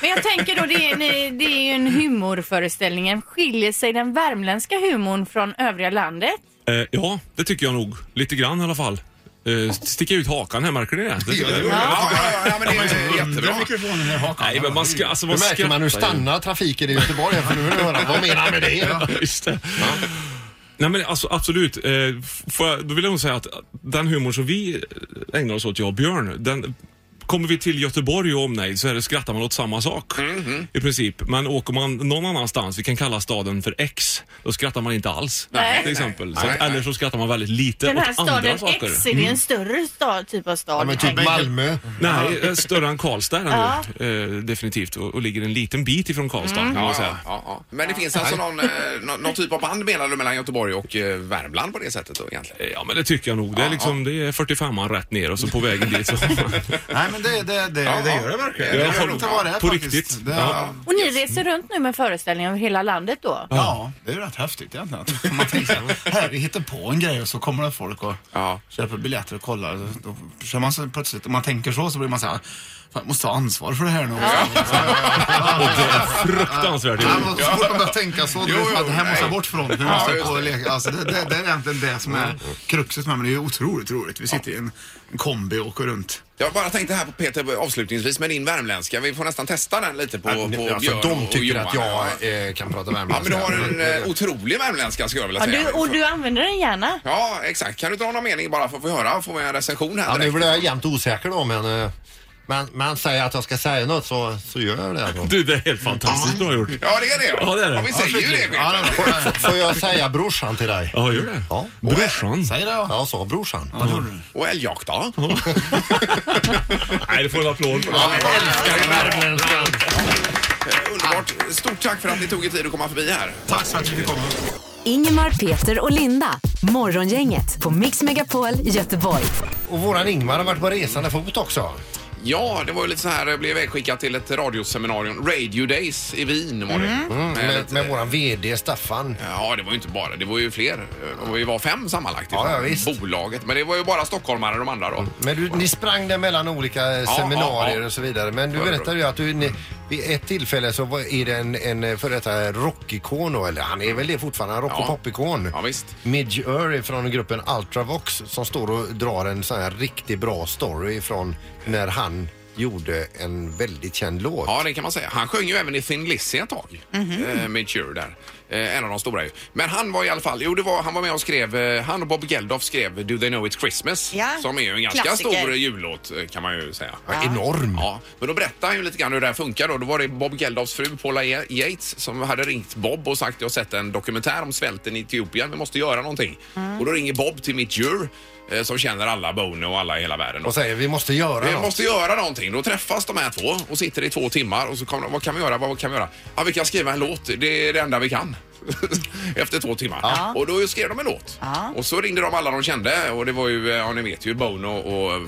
Speaker 5: Men jag tänker då, det är, ni- det är ju en humorföreställning. Skiljer sig den värmländska humorn från övriga landet?
Speaker 7: Eh, ja, det tycker jag nog. Lite grann i alla fall. Eh, sticka ut hakan här, märker ni det? det tycker jag.
Speaker 1: Ja, ja, ja, men det är
Speaker 8: Jättebra.
Speaker 1: jättebra.
Speaker 8: mikrofonen i hakan.
Speaker 7: Nej, men man ska... Alltså,
Speaker 3: Nu
Speaker 7: man
Speaker 3: märker man hur
Speaker 7: skrattar ju.
Speaker 3: stannar trafiken i Göteborg här, för nu vill jag höra vad menar han med det?
Speaker 7: Just det. Nej men alltså absolut. Eh, f- får jag, då vill jag nog säga att den humor som vi eh, ägnar oss åt, jag och Björn, den Kommer vi till Göteborg och omnejd så är det, skrattar man åt samma sak
Speaker 5: Mm-hmm.
Speaker 7: i princip. Men åker man någon annanstans, vi kan kalla staden för X, då skrattar man inte alls.
Speaker 5: Nej.
Speaker 7: Till exempel. Så,
Speaker 1: Nej, nej.
Speaker 7: eller så skrattar man väldigt lite
Speaker 5: Den här
Speaker 7: åt andra
Speaker 5: staden
Speaker 7: saker. Mm.
Speaker 5: X, är det en större stad, typ av stad?
Speaker 3: Ja, men typ Malmö.
Speaker 7: Nej, eh, större än Karlstad är den ju, eh, definitivt. Och, och ligger en liten bit ifrån Karlstad
Speaker 5: Mm.
Speaker 7: kan man
Speaker 1: Ja,
Speaker 7: säga.
Speaker 1: ja, ja, ja. Men det finns alltså någon, eh, nå- någon typ av band menar du mellan Göteborg och eh, Värmland på det sättet då egentligen?
Speaker 7: Eh, Ja men det tycker jag nog. Det är, liksom, det är 45an rätt ner och så på vägen dit så...
Speaker 8: Nej, men det, det, det, det gör det verkligen.
Speaker 7: Ja,
Speaker 8: det gör inte vad det är
Speaker 7: på
Speaker 8: faktiskt.
Speaker 7: riktigt.
Speaker 8: Det,
Speaker 7: Ja.
Speaker 8: ja.
Speaker 5: Och ni reser runt nu med föreställningar över hela landet då?
Speaker 8: ja, det är ju rätt häftigt egentligen. Att Man tänker så här, här, vi hittar på en grej och så kommer det folk och
Speaker 1: Ja.
Speaker 8: köper biljetter och kollar. Då kör man så plötsligt, om man tänker så, så blir man så här, fan, jag måste ta ansvar för det här nu.
Speaker 7: Och det är fruktansvärt
Speaker 8: Ja,
Speaker 7: jobbigt.
Speaker 8: men så fort man börjar tänka så, då
Speaker 1: Jo,
Speaker 8: vet man
Speaker 1: jo,
Speaker 8: att det här måste jag
Speaker 1: nej.
Speaker 8: bort från. Vi
Speaker 1: Ja,
Speaker 8: måste
Speaker 1: just
Speaker 8: på och
Speaker 1: det. Mm.
Speaker 8: leka. Alltså, det, det, det är egentligen det som är kruxet med men det är ju otroligt roligt. Vi sitter i en, en kombi och åker runt.
Speaker 1: Jag bara tänkte här på Peter avslutningsvis med din värmländska. Vi får nästan testa den lite på, på
Speaker 3: Alltså,
Speaker 1: Björn
Speaker 3: de
Speaker 1: och
Speaker 3: tycker
Speaker 1: Johan.
Speaker 3: att jag eh, kan prata
Speaker 1: Ja, men du
Speaker 3: värmländska.
Speaker 1: har en eh, otrolig värmländska skulle jag vilja
Speaker 5: Ja,
Speaker 1: säga.
Speaker 5: du, och du använder den gärna?
Speaker 1: Ja, exakt. Kan du dra någon mening bara för att få höra? Får vi en recension här
Speaker 3: Ja, nu
Speaker 1: direkt?
Speaker 3: blir jag jämt osäker då, men eh, man, man säger att jag ska säga något så, så gör jag det. Då.
Speaker 7: Du, det är helt fantastiskt bra gjort.
Speaker 1: Ja, det är det.
Speaker 7: Ja, det är det.
Speaker 1: vi säger ju det, Peter.
Speaker 3: Ja, då får, får jag säga brorsan till dig?
Speaker 7: Ja, gör det.
Speaker 3: Ja.
Speaker 7: Brorsan.
Speaker 8: Säg det då.
Speaker 3: Jag sa brorsan.
Speaker 8: Ja, det gjorde du.
Speaker 1: Och älgjakt då?
Speaker 7: Nej, du får en applåd för det.
Speaker 1: Eh, Underbart. Stort tack för att ni tog er tid att komma förbi här.
Speaker 8: Tack så mycket för att du fick komma.
Speaker 4: Ingemar, Peter och Linda. Morgongänget på Mix Megapol Göteborg.
Speaker 3: Och våran Ingmar har varit på resande fot också.
Speaker 1: Ja, det var ju lite så här, jag blev vägskickad till ett radioseminarium, Radio Days i Wien var det. Eh,
Speaker 3: Med,
Speaker 1: lite-
Speaker 3: med våran VD Staffan.
Speaker 1: Ja, det var ju inte bara, det var ju fler. Eh, och Vi var fem sammanlagt i
Speaker 3: Ja, ja, visst.
Speaker 1: bolaget. Men det var ju bara stockholmare de andra då.
Speaker 3: Men du, ni sprang där mellan olika eh,
Speaker 1: Ja,
Speaker 3: seminarier
Speaker 1: ja, ja.
Speaker 3: och så vidare. Men du
Speaker 1: Ja, det är
Speaker 3: berättade ju att du, ni, vid ett tillfälle så var, är det en, en eh, före detta rockikon då, eller han är väl det fortfarande, en rock och
Speaker 1: Ja.
Speaker 3: popikon.
Speaker 1: Ja, visst.
Speaker 3: Midge Ur från gruppen Ultravox som står och drar en sån här riktigt bra story från när han gjorde en väldigt känd låt.
Speaker 1: Ja, det kan man säga. Han sjöng ju även i Thin Lizzy ett tag. Eh, med Cure där. Eh, en av de stora ju. Men han var i alla fall, jo det var, han var med och skrev, eh, han och Bob Geldof skrev Do They Know It's Christmas.
Speaker 2: Ja.
Speaker 1: Som är ju en ganska
Speaker 2: Klassiker.
Speaker 1: stor jullåt eh, kan man ju säga.
Speaker 3: Ja, Enorm!
Speaker 1: Ja, men då berättade han ju lite grann hur det här funkar då. Då var det Bob Geldofs fru Paula Ye- Yates som hade ringt Bob och sagt jag har sett en dokumentär om svälten i Etiopien, vi måste göra någonting. Och då ringer Bob till mitt djur eh, som känner alla Bono och alla i hela världen. då.
Speaker 3: Och säger vi måste göra
Speaker 1: Vi
Speaker 3: något.
Speaker 1: måste göra någonting. Då träffas de här två och sitter i två timmar och så kommer de, vad kan vi göra, vad kan vi göra? Ja, vi kan skriva en låt, det är det enda vi kan. Efter två timmar. Och då skrev de en låt. Och så ringde de alla de kände och det var ju, eh, ja ni vet ju Bono och eh,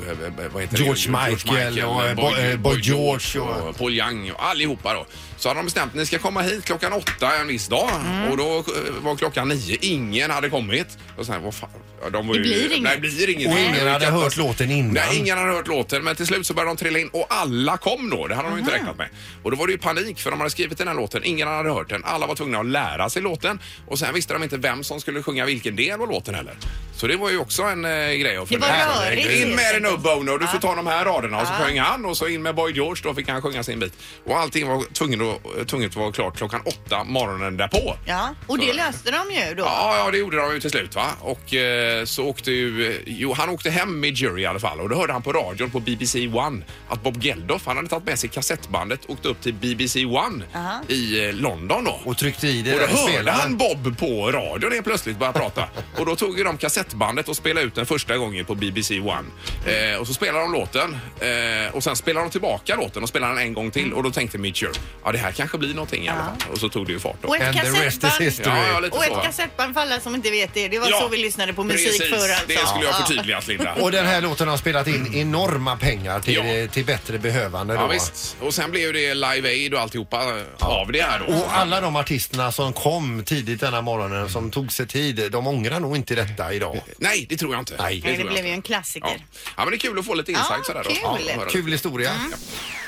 Speaker 1: eh, vad heter
Speaker 3: George
Speaker 1: det?
Speaker 3: Michael och, eh, Boy- eh, Boy George och-
Speaker 1: och Paul Young och allihopa då. Så hade de bestämt ni ska komma hit klockan åtta en viss dag
Speaker 3: Mm.
Speaker 1: och då eh, var klockan nio. Ingen hade kommit. Och sen, vad fan, ja, de var
Speaker 2: Det
Speaker 1: ju,
Speaker 2: blir inget.
Speaker 1: Nej, det blir inget.
Speaker 3: Och
Speaker 1: Det
Speaker 3: ingen
Speaker 1: var ju
Speaker 3: hade hört
Speaker 1: katastrof.
Speaker 3: låten innan.
Speaker 1: Nej, ingen hade hört låten men till slut så började de trilla in och alla kom då. Det hade de ju inte räknat med. Och då var det ju panik för de hade skrivit den här låten. Ingen hade hört den. Alla var tvungna att lära sig låten och sen visste de inte vem som skulle sjunga vilken del av låten heller. Så det var ju också en eh, grej att
Speaker 2: Det var
Speaker 1: fundera på.
Speaker 2: rörigt,
Speaker 1: In med
Speaker 2: helt
Speaker 1: dig nu
Speaker 2: enkelt.
Speaker 1: Bono, du får ta de här raderna. Och så
Speaker 2: Ja.
Speaker 1: sjöng han och så in med Boy George, då fick han sjunga sin bit. Och allting var tvungen att, eh, tvunget att vara klart klockan åtta morgonen därpå.
Speaker 2: Ja, och det
Speaker 1: Så-
Speaker 2: löste de ju då.
Speaker 1: Ja, ja, det gjorde de ju till slut va. Och eh, så åkte ju, jo han åkte hem med jury i alla fall och då hörde han på radion på BBC One att Bob Geldof, han hade tagit med sig kassettbandet, åkte upp till BBC One i eh, London då.
Speaker 3: Och tryckte i det
Speaker 1: Och då
Speaker 3: där och
Speaker 1: hörde hörde
Speaker 3: spelaren.
Speaker 1: han Bob på radion helt plötsligt började prata. Och då tog ju de kassettbandet och spelade ut den första gången på BBC One. Eh, och så spelade de låten eh, och sen spelade de tillbaka låten och spelade den en gång till. Och då tänkte Mitch Ure, ja det här kanske blir någonting i alla fall. Och så tog det ju fart då.
Speaker 2: Och ett
Speaker 3: And the rest is
Speaker 2: kassettband.
Speaker 3: history.
Speaker 1: Ja, ja, lite
Speaker 2: Och
Speaker 1: så.
Speaker 2: ett
Speaker 1: va?
Speaker 2: kassettband för alla som inte vet det. Det var
Speaker 1: Ja,
Speaker 2: så vi lyssnade på musik
Speaker 1: Precis,
Speaker 2: förr alltså.
Speaker 1: det skulle jag
Speaker 2: Ja.
Speaker 1: förtydligat Linda.
Speaker 3: Och den här låten har spelat in enorma pengar till,
Speaker 1: Ja.
Speaker 3: eh, till bättre behövande. Då.
Speaker 1: Ja, visst. Och sen blev ju det Live Aid och alltihopa eh, av det här då.
Speaker 3: Och alla de artisterna som kom tidigt denna morgonen som tog sig tid, de ångrar nog inte detta idag.
Speaker 1: Nej, det tror jag inte.
Speaker 3: Nej.
Speaker 2: Nej, det
Speaker 1: tror jag
Speaker 2: blev ju
Speaker 1: inte.
Speaker 2: en
Speaker 1: Ja.
Speaker 2: klassiker.
Speaker 1: ja, men det är kul att få lite insight
Speaker 2: Ja,
Speaker 1: sådär.
Speaker 2: kul.
Speaker 1: Då. Ja, höra
Speaker 3: Kul historia.
Speaker 2: Mm.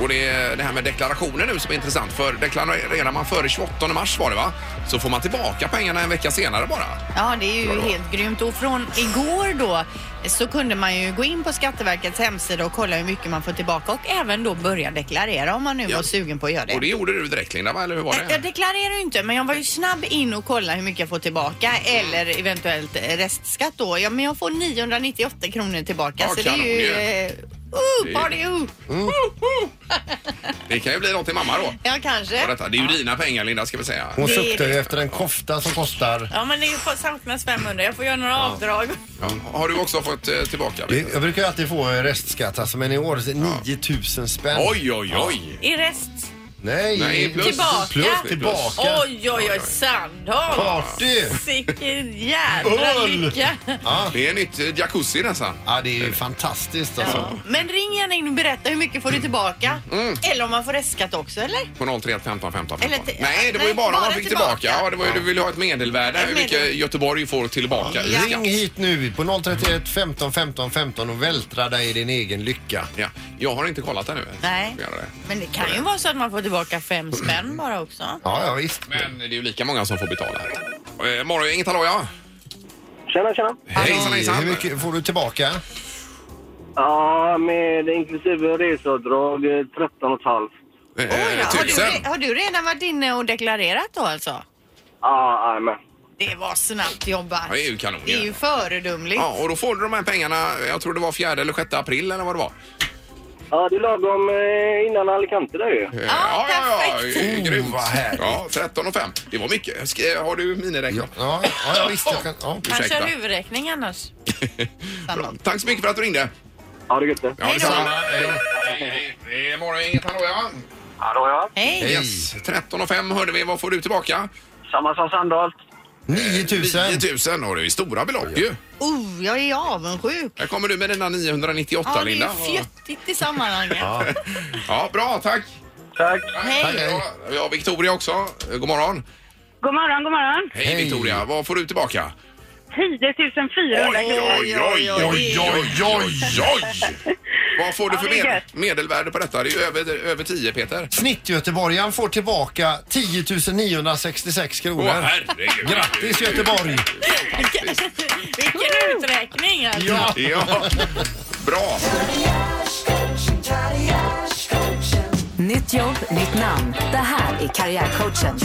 Speaker 1: Och det är det här med deklarationer nu som är intressant. För deklarerar man före 28 mars var det va? Så får man tillbaka pengarna en vecka senare bara.
Speaker 2: Ja, det är
Speaker 1: Bra,
Speaker 2: ju
Speaker 1: bra.
Speaker 2: helt grymt. Och från igår då så kunde man ju gå in på Skatteverkets hemsida och kolla hur mycket man får tillbaka och även då börja deklarera om man nu
Speaker 1: Ja.
Speaker 2: var sugen på att göra det.
Speaker 1: Och det gjorde du direkt Linda, va? eller hur var
Speaker 2: Nej, Jag
Speaker 1: det?
Speaker 2: deklarerar ju inte, men jag var ju snabb in och kolla hur mycket jag får tillbaka
Speaker 1: Mm.
Speaker 2: eller eventuellt eh, restskatt då. Ja, men jag får 998 kronor tillbaka,
Speaker 1: Ja,
Speaker 2: så det är
Speaker 1: kanon
Speaker 2: ju...
Speaker 1: ju.
Speaker 2: eh,
Speaker 1: Det
Speaker 2: Uh,
Speaker 1: är- Mm.
Speaker 2: party uh.
Speaker 1: Det kan ju bli något till mamma då.
Speaker 2: Ja,
Speaker 1: Ja,
Speaker 2: kanske.
Speaker 1: detta. Det är ju dina pengar Linda ska vi säga.
Speaker 3: Hon
Speaker 2: Det är
Speaker 3: suktar ju
Speaker 2: det.
Speaker 3: efter en kofta som kostar
Speaker 5: Ja, men det får- saknas 500. Jag får göra några avdrag.
Speaker 1: Ja. Har du också fått eh, tillbaka?
Speaker 3: Det- Jag brukar ju alltid få eh, restskatt alltså, men i år så är det 9000 spänn.
Speaker 1: Oj, oj, oj!
Speaker 5: I rest.
Speaker 3: Nej,
Speaker 1: Nej, plus.
Speaker 5: Tillbaka.
Speaker 3: Plus, tillbaka.
Speaker 5: Oj, oj, oj. Sandholm.
Speaker 3: Party!
Speaker 5: Sicken jädra
Speaker 3: Öl.
Speaker 5: lycka.
Speaker 1: Det är nytt eh, jacuzzi nästan.
Speaker 3: Ja, det är ju fantastiskt alltså.
Speaker 2: Men ring gärna in och berätta hur mycket får du tillbaka.
Speaker 1: Mm.
Speaker 2: Eller om man får restskatt också, eller?
Speaker 1: På 031 15 15
Speaker 2: Eller
Speaker 1: 15.
Speaker 2: till-
Speaker 1: Nej, det var ju
Speaker 2: nej,
Speaker 1: bara om man
Speaker 2: bara
Speaker 1: fick tillbaka.
Speaker 2: tillbaka.
Speaker 1: Ja, det var ju, du ville ha ett medelvärde,
Speaker 2: Ett
Speaker 1: hur mycket
Speaker 2: medel-
Speaker 1: Göteborg får tillbaka i skatt.
Speaker 3: Ring hit nu på 031 15 15 15 och vältra dig i din egen lycka.
Speaker 1: Ja, jag har inte kollat ännu.
Speaker 2: Nej.
Speaker 1: Får göra det.
Speaker 2: Men det kan ju vara så att man får tillbaka fem spänn bara
Speaker 1: Eh,
Speaker 2: också.
Speaker 3: Ja, ja visst.
Speaker 1: Men det är ju lika många som får betala. Eh, morgon, inget hallå ja.
Speaker 9: Tjena, tjena.
Speaker 1: Hejsan, hejsan.
Speaker 3: Hur mycket får du tillbaka?
Speaker 9: Ja, med inklusive reseavdrag eh, 13 och ett halvt.
Speaker 1: Eh,
Speaker 2: Oj, då. har, du,
Speaker 1: tusen.
Speaker 2: re- har du redan varit inne och deklarerat då alltså?
Speaker 9: Ja, jajamän.
Speaker 2: Det var snabbt jobbat.
Speaker 1: Ja, det är ju kanon,
Speaker 2: Det är
Speaker 1: ja.
Speaker 2: ju föredömligt.
Speaker 1: Ja, och då får du de här pengarna, jag tror det var 4 eller 6 april eller vad det var.
Speaker 9: Ja, det är lagom eh, innan Alicante där ju.
Speaker 1: Eh,
Speaker 2: Ja,
Speaker 1: ja,
Speaker 2: perfekt.
Speaker 1: eh, grymt.
Speaker 3: Oh, vad härligt.
Speaker 1: Ja, 13 och 5. Det var mycket. Ska, har du
Speaker 3: Ja,
Speaker 1: miniräknare?
Speaker 3: ja, ja visst. Jag kan, ja.
Speaker 5: Han
Speaker 1: Ursäkta.
Speaker 5: kör huvudräkning annars.
Speaker 1: Bra. Tack så mycket för att du ringde.
Speaker 9: Ha det gött det.
Speaker 1: Ja,
Speaker 2: Hej då.
Speaker 1: detsamma. Hej, hej, hej. Det är morgon, inget hallå ja.
Speaker 9: Hallå, ja.
Speaker 2: Hej!
Speaker 1: Yes, 13 och 5 hörde vi. Vad får du tillbaka?
Speaker 9: Samma som Sandholt.
Speaker 3: 9000.
Speaker 1: 9000 och det är ju stora belopp ju.
Speaker 2: Oh, jag är avundsjuk.
Speaker 1: Här kommer du med dina 998
Speaker 2: Ja, det är ju
Speaker 1: Linda.
Speaker 2: fjuttigt i sammanhanget.
Speaker 1: Ja, bra, tack.
Speaker 9: Tack.
Speaker 1: Tack, hej. Vi har Victoria också. God morgon.
Speaker 10: God morgon, god morgon.
Speaker 1: Hej,
Speaker 3: Hej.
Speaker 1: Victoria, vad får du tillbaka?
Speaker 10: 10 400 kronor.
Speaker 1: oj, oj, oj, oj, oj. Vad får du
Speaker 10: Ja,
Speaker 1: för
Speaker 10: det är
Speaker 1: med,
Speaker 10: gött.
Speaker 1: medelvärde på detta? Det är ju över, över 10 Peter.
Speaker 3: Snittgöteborgaren får tillbaka 10 966
Speaker 1: Åh
Speaker 3: kronor.
Speaker 1: herregud.
Speaker 3: Grattis Göteborg!
Speaker 5: Vilken uträkning alltså.
Speaker 3: Ja.
Speaker 1: Ja, bra.
Speaker 4: Nytt jobb, nytt namn. Det här är Karriärcoachen.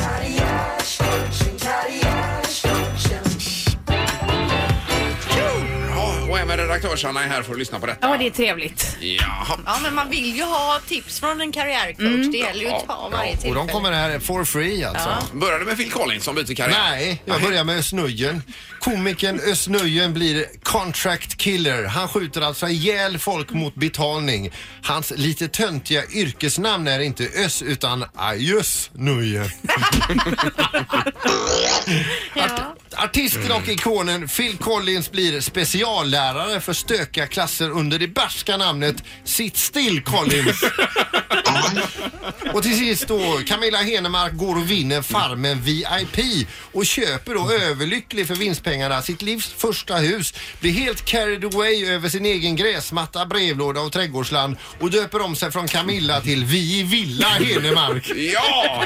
Speaker 1: Ja, och även redaktörs-Anna är här för att lyssna på detta.
Speaker 5: Ja, det är trevligt.
Speaker 1: Jaha.
Speaker 2: Ja, men man vill ju ha tips från en karriärcoach.
Speaker 1: Mm.
Speaker 2: Det gäller ju att ta varje
Speaker 3: Och
Speaker 2: tillfälle.
Speaker 3: de kommer här for free alltså.
Speaker 1: Började med Phil Collins som byter karriär.
Speaker 3: Nej, jag börjar med Özz Nujen. Komikern Özz Nujen blir contract killer. Han skjuter alltså ihjäl folk mot betalning. Hans lite töntiga yrkesnamn är inte Özz utan Ajus Nujen. Art- artisten och ikonen Phil Collins blir speciallärare för stökiga klasser under det barska namnet Sit still Collins. Och till sist då, Camilla Henemark går och vinner Farmen VIP och köper då överlycklig för vinstpengarna sitt livs första hus, blir helt carried away över sin egen gräsmatta, brevlåda och trädgårdsland och döper om sig från Camilla till Vi i Villa Henemark.
Speaker 1: Ja!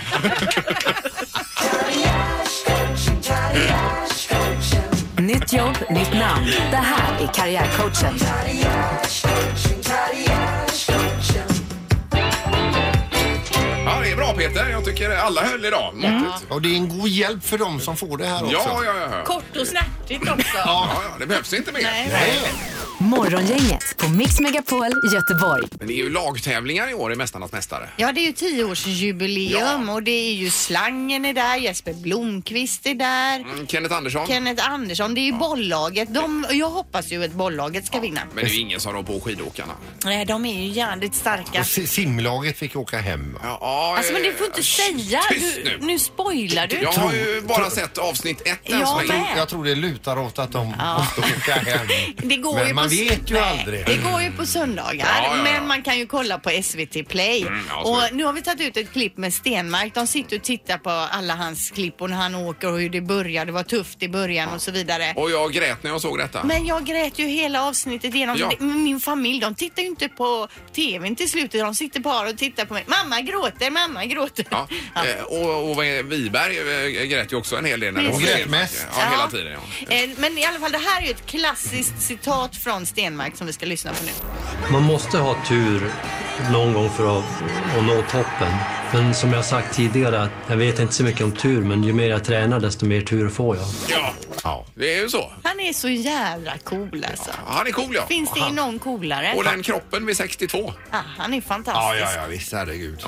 Speaker 4: Nytt jobb, nytt namn. Det här är Karriärcoachen.
Speaker 1: ja, det är bra Peter. Jag tycker alla höll idag.
Speaker 5: Mm.
Speaker 1: Måttet.
Speaker 3: Och det är en god hjälp för dem som får det här också.
Speaker 1: Ja, ja, ja. ja.
Speaker 5: Kort och snärtigt också.
Speaker 1: Ja, ja, det behövs inte mer.
Speaker 2: Nej,
Speaker 3: Nej.
Speaker 4: Morgongänget på Mix Megapol Göteborg.
Speaker 1: Men det är ju lagtävlingar i år i Mästarnas Mästare.
Speaker 2: Ja, det är ju tioårsjubileum och det är ju Slangen är där, Jesper Blomqvist är där.
Speaker 1: Mm, Kenneth Andersson.
Speaker 2: Kenneth Andersson, det är ju bolllaget. De, jag hoppas ju att bolllaget ska vinna.
Speaker 1: Men det är ju ingen som rår på skidåkarna.
Speaker 2: Nej, de är ju jävligt starka.
Speaker 3: Och si- simlaget fick åka hem.
Speaker 1: Ja,
Speaker 5: Alltså men du får inte säga.
Speaker 1: tyst
Speaker 5: Du,
Speaker 1: nu.
Speaker 5: nu spoilar du.
Speaker 1: Jag har ju bara sett avsnitt ett än
Speaker 5: Jag
Speaker 1: så
Speaker 5: med.
Speaker 1: länge.
Speaker 3: Jag tror det lutar åt att de måste åka hem.
Speaker 2: Det går
Speaker 3: Men
Speaker 2: ju
Speaker 3: man
Speaker 2: på,
Speaker 3: vet ju aldrig.
Speaker 2: Det går ju på söndagar,
Speaker 1: Ja, ja, ja.
Speaker 2: men man kan ju kolla på SVT Play.
Speaker 1: ja, så är det.
Speaker 2: och nu har vi tagit ut ett klipp med Stenmark. De sitter och tittar på alla hans klipp och när han åker och hur det börjar. Det var tufft i början och så vidare.
Speaker 1: Och jag grät när jag såg detta.
Speaker 2: Men jag grät ju hela avsnittet igenom.
Speaker 1: Ja.
Speaker 2: Det- Min familj, de tittar ju inte på tvn till slutet. De sitter bara och tittar på mig. Mamma gråter, mamma gråter.
Speaker 1: Ja.
Speaker 2: Ja.
Speaker 1: eh, Och, och Wiberg eh, grät ju också en hel del. När det
Speaker 3: Hon
Speaker 1: var
Speaker 3: grät
Speaker 1: fel.
Speaker 3: mest.
Speaker 1: Ja, hela
Speaker 2: Ja.
Speaker 1: tiden. Ja.
Speaker 2: Eh, Men i alla fall, det här är ju ett klassiskt citat från Stenmark som vi ska lyssna på nu.
Speaker 11: Man måste ha tur någon gång för att, att nå toppen. Men som jag sagt tidigare, att jag vet inte så mycket om tur, men ju mer jag tränar desto mer tur får jag.
Speaker 1: Ja. det är ju så.
Speaker 2: Han är så jävla cool alltså.
Speaker 1: Han är cool ja.
Speaker 2: Finns det någon coolare?
Speaker 1: Och den kroppen vid 62.
Speaker 2: Ah, han är fantastisk.
Speaker 3: Ja, ja, ja, visst. Herregud.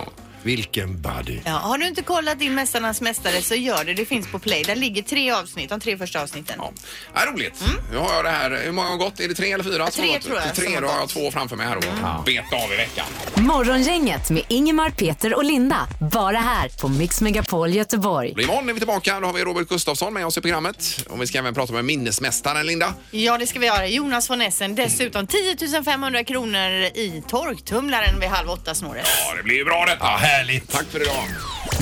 Speaker 3: Vilken buddy.
Speaker 2: Ja, har du inte kollat in Mästarnas Mästare så gör det. Det finns på Play. Där ligger tre avsnitt, de tre första avsnitten.
Speaker 1: Ja, är roligt. Nu har jag det här. Hur många har gått? Är det tre eller fyra? som
Speaker 2: Mm. Tre
Speaker 1: har gått?
Speaker 2: tror jag som
Speaker 1: Tre,
Speaker 2: har
Speaker 1: då har jag
Speaker 2: gått.
Speaker 1: två
Speaker 2: Mm.
Speaker 1: framför mig här och bet av i veckan.
Speaker 4: Morgongänget med Ingemar, Peter och Linda. Bara här på Mix Megapol Göteborg.
Speaker 1: Och Imorgon är vi tillbaka. Då har vi Robert Gustafsson med oss i programmet. Och vi ska även prata med minnesmästaren Linda.
Speaker 2: Ja, det ska vi göra. Jonas von Essen. Dessutom 10 500 kronor i torktumlaren vid halv åtta-snåret.
Speaker 1: Ja, det blir ju bra detta.
Speaker 3: Härligt.
Speaker 1: Tack för idag.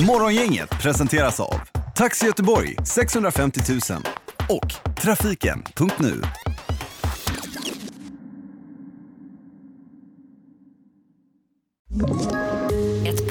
Speaker 12: Morgongänget presenteras av Taxi Göteborg 650 000 och Trafiken.nu.
Speaker 4: Ett